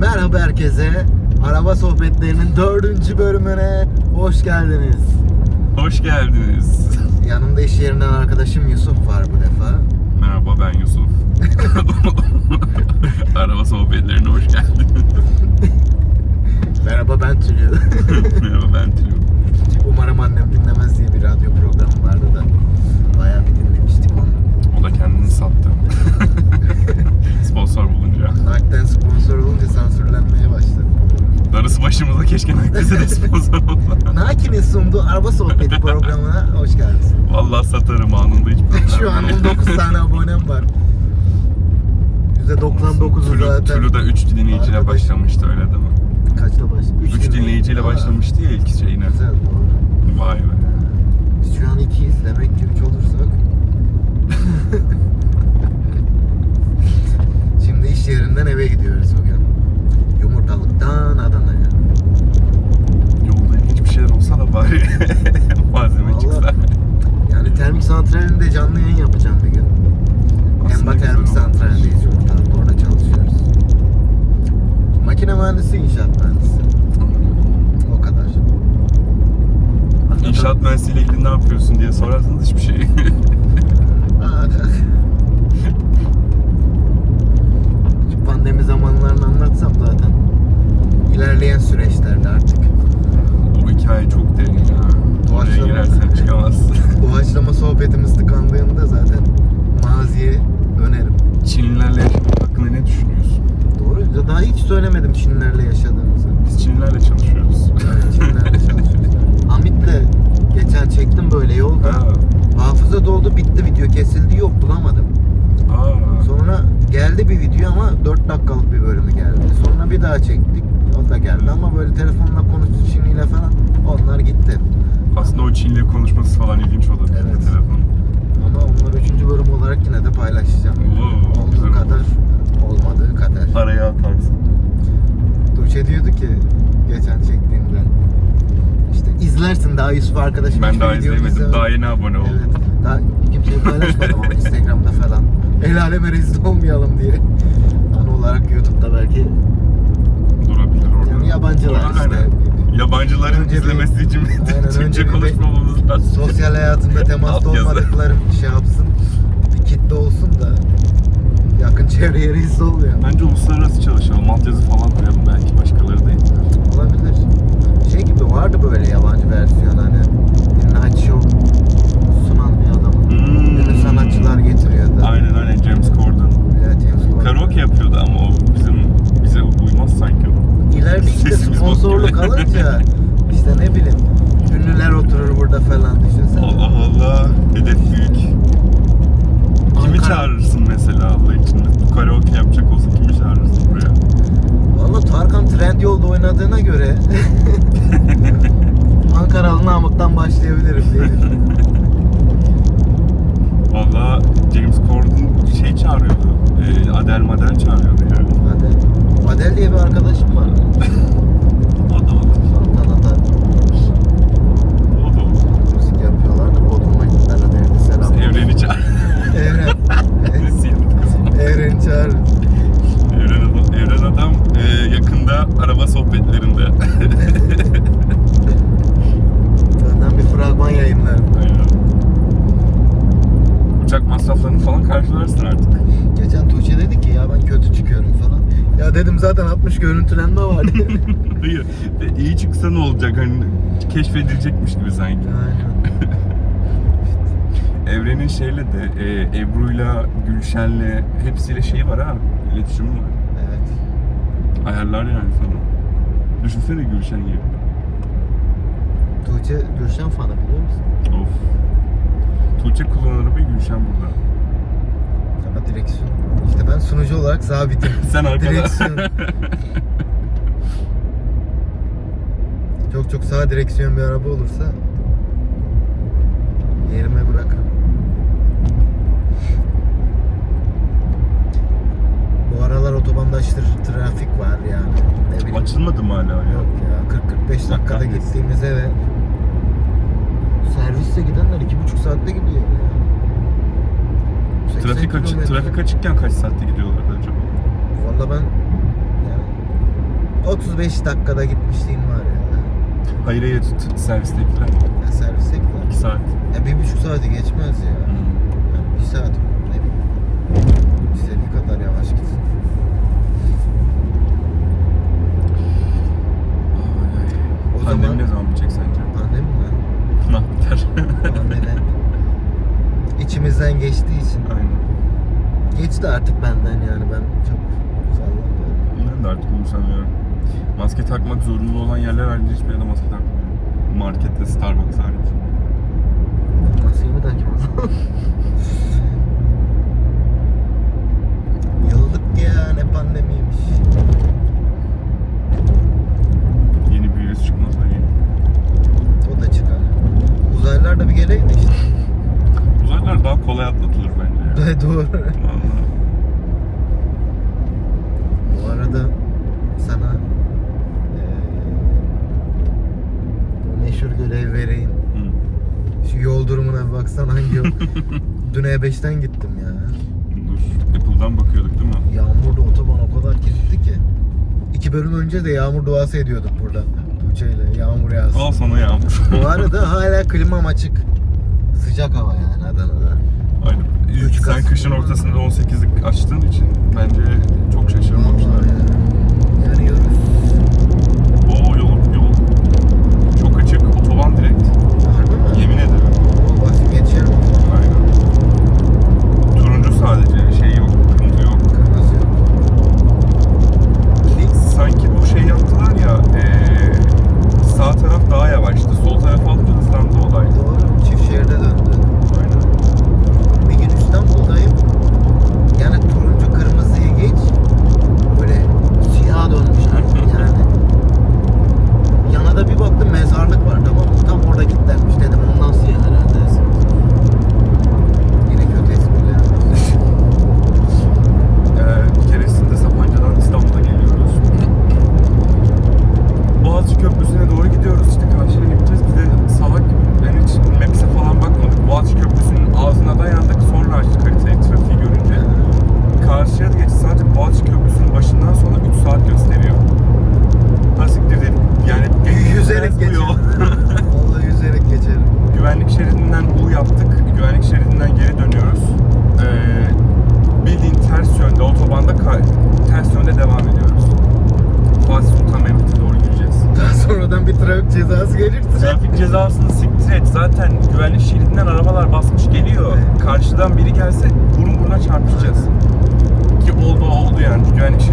Merhaba herkese. Araba sohbetlerinin dördüncü bölümüne hoş geldiniz. Hoş geldiniz. Yanımda iş yerinden arkadaşım Yusuf var bu defa. Merhaba ben Yusuf. Araba sohbetlerine hoş geldiniz. Merhaba ben Tülü. Merhaba ben Tülü. Umarım annem dinlemez diye bir radyo programı vardı da. Bayağı bir dinlemiştik onu. O da kendini sattı. Sponsor bulunca. Nakden sponsor olunca sansürlenmeye başladı. Darısı başımıza keşke naklese de sponsor olsa. Naki'nin sunduğu araba sohbeti programına hoş geldiniz. Vallahi satarım anında hiç problem Şu an değil. 19 tane abonem var. %99'u Tülü- zaten. Tülü de 3 dinleyiciyle Arkadaş. başlamıştı öyle değil mi? Kaçla başladı? 3 dinleyiciyle Aa, başlamıştı ya ilk şeyine. Güzel doğru. Vay be. Biz şu an ikiyiz demek ki üç olursak. Şimdi iş yerinden eve gidiyoruz bugün. Yumurtalıktan Adana'ya. Yolda hiçbir şeyler olsa da bari malzeme çıksa. Vallahi yani termik santralinde canlı yayın yapacağım bir gün. Aslında Emba güzel termik olur. santralindeyiz yumurtalıkta orada çalışıyoruz. Makine mühendisi, inşaat mühendisi. O kadar. Hakikaten- İnşaat mühendisiyle ilgili ne yapıyorsun diye sorarsanız hiçbir şey. Aa, Şu pandemi zamanlarını anlatsam zaten ilerleyen süreçlerde artık o hikaye çok derin ya. Oraya Doğaçlama. girersen çıkamazsın. doğaçlama sohbetimiz tıkandığında zaten maziye dönerim. Çinlilerle yaşamak hakkında ne düşünüyorsun? Doğru. ya Daha hiç söylemedim Çinlerle yaşadığımızı. Biz Çinlilerle çalışıyoruz. Yani Çinlerle çalışıyoruz. Hamit'le geçen çektim böyle yolda. Ha, Hafıza doldu bitti video kesildi yok bulamadım. aa, Sonra geldi bir video ama 4 dakikalık bir bölümü geldi. Sonra bir daha çektik. O da geldi ama böyle telefonla konuştu Çinliyle falan. Onlar gitti. aslında o Çinli konuşması falan ilginç olabilir Evet. telefon. Ama onları 3. bölüm olarak yine de paylaşacağım. Oo, güzel Olduğu oldu. kadar, olmadığı kadar. Araya atarsın. Tuğçe diyordu ki geçen çektiğimde işte izlersin daha Yusuf arkadaşım. Ben hiçbir daha videomu izlemedim. izlemedi." Daha yeni abone oldum. Evet. Daha kimseye paylaşmadım ama Instagram'da falan. El aleme rezil olmayalım diye. An olarak YouTube'da belki Durabilir orada. Yani yabancılar Orada işte. aynen. Yabancıların Önce bir- izlemesi için bir Aynen, önce Türkçe bir- konuşmamamız lazım. sosyal hayatında temasta Alt yazı. olmadıklarım şey yapsın. Bir kitle olsun da yakın çevreye reis olmuyor. Bence uluslararası çalışalım. Altyazı falan koyalım belki başkaları da izler. Olabilir. Şey gibi vardı böyle yabancı versiyon hani night show sunan bir adamın. Hmm. Ünlü sanatçılar getiriyordu. Aynen aynen James Corden. Ya James Bond. Karaoke yapıyordu ama o bizim bize uymaz sanki o. İleride işte Sesimiz bok sponsorluk gibi. alınca işte ne bileyim ünlüler oturur burada falan düşünsene. Allah Allah. Hedef büyük. Kimi Ankara- çağırırsın mesela Allah için? Bu karaoke yapacak olsa kimi çağırırsın buraya? Valla Tarkan Trendyol'da oynadığına göre Ankaralı Namık'tan başlayabilirim diye düşünüyorum. Valla James Corden şey çağırıyordu. E, Adel Madel çağırıyordu yani. Adel. Adel diye bir arkadaşım var. O da olur. Antalya'da O da olur. müzik yapıyorlar da Bodrum'a gittiler. Hadi evde selam. Evren'i çağır. Evren. Sildik kızım. Evren'i çağır. Evren adam, Evren adam e, yakında araba sohbetlerinde. Benden bir fragman yayınlarım. Aynen. Uçak masraflarını falan karşılarsın artık. Geçen Tuğçe dedi ki ya ben kötü çıkıyorum falan. Ya dedim zaten 60 görüntülenme var. Hayır. de iyi çıksa ne olacak? Hani keşfedilecekmiş gibi sanki. Aynen. Evrenin şeyle de e, Ebru'yla, Gülşen'le hepsiyle şeyi var ha. İletişimi var. Evet. Ayarlar yani sana. Düşünsene Gülşen gibi. Tuğçe Gülşen fanı biliyor musun? Of. Tuğçe kullanır bir Gülşen burada. Ama direksiyon. İşte ben sunucu olarak sabitim. Sen arkada. Direksiyon. çok çok sağ direksiyon bir araba olursa yerime bırakırım. Bu aralar otobanda aşırı trafik var yani. Ne bileyim. Açılmadı mı hala ya? Yok ya 40-45 dakikada Kahretsin. gittiğimiz eve servisle gidenler 2,5 saatte gidiyor ya. 80 Trafik, açı, kilometre. trafik açıkken kaç saatte gidiyorlardı acaba? Valla ben yani 35 dakikada gitmişliğin var ya. Hayır hayır t- servistekiler. ya servise İki gidiyor. saat. Ya bir buçuk saati geçmez ya. Hmm. Yani bir saat ne bileyim. İstediği kadar yavaş gitsin. O O Pandemi zaman ne zaman bitecek sence? pandemi mi? Ne yapar? Pandemi. İçimizden geçtiği için. Aynen. Geçti artık benden yani ben çok sallamıyorum. Ben de artık umursamıyorum. Maske takmak zorunlu olan yerler halinde hiçbir yerde maske takmıyorum. Marketle Starbucks hariç. Nasıl mı takayım o zaman? Yıldık ya ne pandemiymiş. Yeni bir virüs çıkmaz da yeni. O da çıkar. Uzaylılar da bir geleydi işte. Uzaylılar daha kolay atlatılır bence ya. Evet, Doğru. Vallahi. Bu arada sana eee, bu meşhur görev vereyim. Hı. Şu yol durumuna bir baksan hangi yol? Dün E5'ten gittim ya. Dur. Apple'dan bakıyorduk değil mi? Yağmurda otoban o kadar kirliydi ki. İki bölüm önce de yağmur duası ediyorduk burada. Tuğçe'yle yağmur yağsın. Al sana yağmur. Bu arada hala klimam açık. Sıcak hava yani Adana'da. Aynen. Üç Sen Kasım. kışın ortasında 18'lik açtığın için bence çok şaşırmamışlar. Vallahi yani. Yanıyoruz. Oo yol, yol çok açık. Otoban direkt. Harbi mi? Yemin ederim. Oo, bak geçerim. Aynen. Turuncu sadece şey yok. Kırmızı yok. Kırmızı. Sanki bu şey yaptılar ya eee, sağ taraf daha yavaştı. Sol taraf alınca hızlandı olay. Doğru. Çift şehirde döndü. Aynen. Bir gün İstanbul'dayım. Yani turuncu kırmızıyı geç. Ee, Şey, şey şey.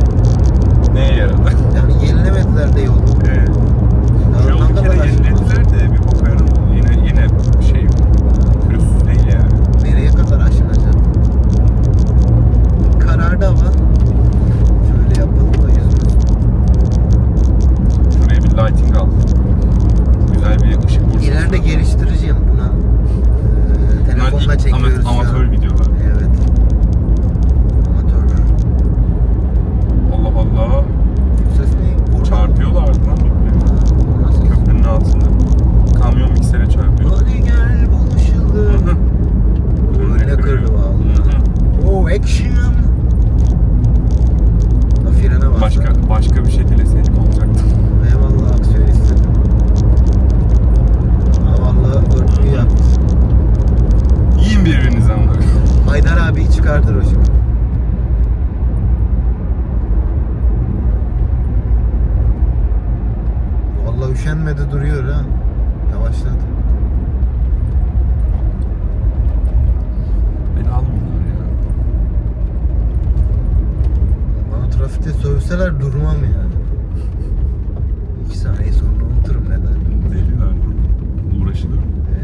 e, Şey şey, Ee, Oh, şey 20'de duruyor ha. Yavaşladı. Beni almıyorlar ya. Bana trafikte sövseler durmam yani. İki saniye sonra unuturum neden. Deliler bu. Uğraşılır mı? Ee,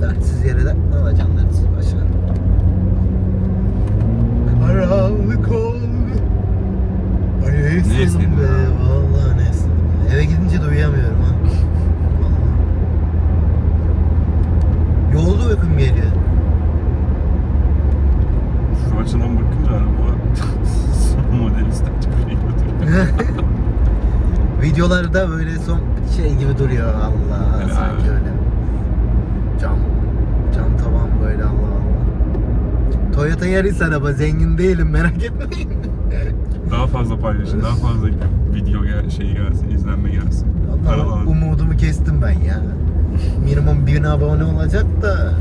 dertsiz yere dert mi alacaksın dertsiz başına? Karanlık oldu. Ay Ne nesin esnedin be ya? vallahi nesin. Eve gidince de uyuyamıyorum ha. Vallahi. Yoğuldu uykum geliyor. Şu açıdan bakınca araba son model istancı geliyordur. Videolarda böyle son şey gibi duruyor Allah Helal. sanki öyle. Cam cam tavan böyle Allah Allah. Toyota Yaris araba zengin değilim merak etmeyin. Daha fazla paylaşın, daha fazla video gel, şey gelsin, izlenme gelsin. Allah Paralar. umudumu kestim ben ya. Minimum 1000 abone olacak da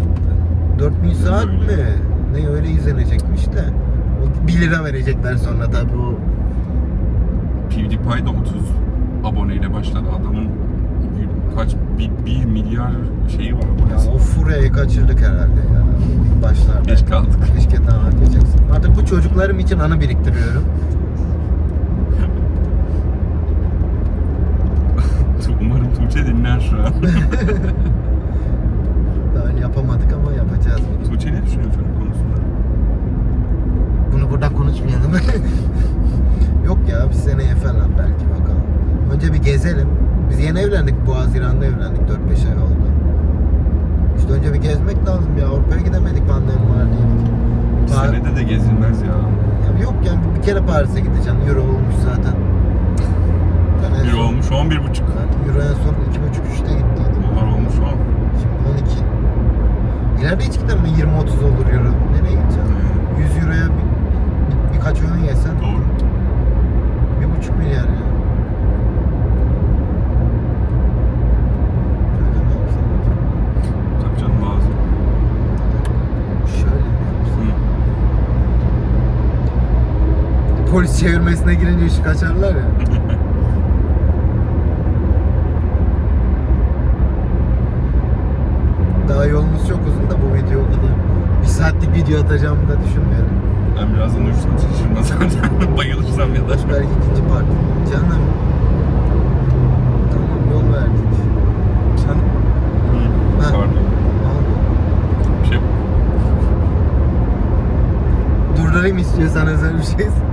4000 saat mi? öyle. Ne öyle izlenecekmiş de. O 1 lira verecekler sonra tabii o PewDiePie de 30 aboneyle başladı. Adamın kaç bir, bir milyar şeyi var Ya abonesi. o furyayı kaçırdık herhalde ya. İlk başlarda. Geç kaldık. Keşke daha harcayacaksın. Artık bu çocuklarım için anı biriktiriyorum. Umarım Tuğçe dinler şu an. Daha öyle Hani yapamadık ama yapacağız. bir gün. Tuğçe ne düşünüyor çocuk konusunda? Bunu burada konuşmayalım. Yok ya bir seneye falan belki bakalım. Önce bir gezelim. Biz yeni evlendik. Bu Haziran'da evlendik. 4-5 ay oldu. İşte önce bir gezmek lazım ya. Avrupa'ya gidemedik pandemi var diye. Bir Pa- senede de gezilmez ya. Ya Yok yani bir kere Paris'e gideceğim. Euro olmuş zaten. Ben en Bir son- olmuş 11,5. Ben Euro en son 2,5-3'te gittiydim. Dolar olmuş o. Şimdi 12. İleride hiç gitmem mi? 20-30 olur euro. Nereye gideceğim? Ee, 100 euroya bir- birkaç öğün yesen doğru. 1,5 milyar ya. Şöyle mi yapsam acaba? Tabii canım lazım. Şöyle mi Hı. yapsam? Polis çevirmesine girince işi kaçarlar ya. Daha yolumuz çok uzun da bu video o kadar. Bir saatlik video atacağımı da düşünmüyorum. Ben birazdan uyuştum şaşırma zaten. Bayılırsam ya da. Arkadaş belki ikinci part. Canım. Tamam yol verdik. Sen... Hı. Ha. Pardon. Al. Bir şey Durdurayım istiyorsan özel bir şey. 뭐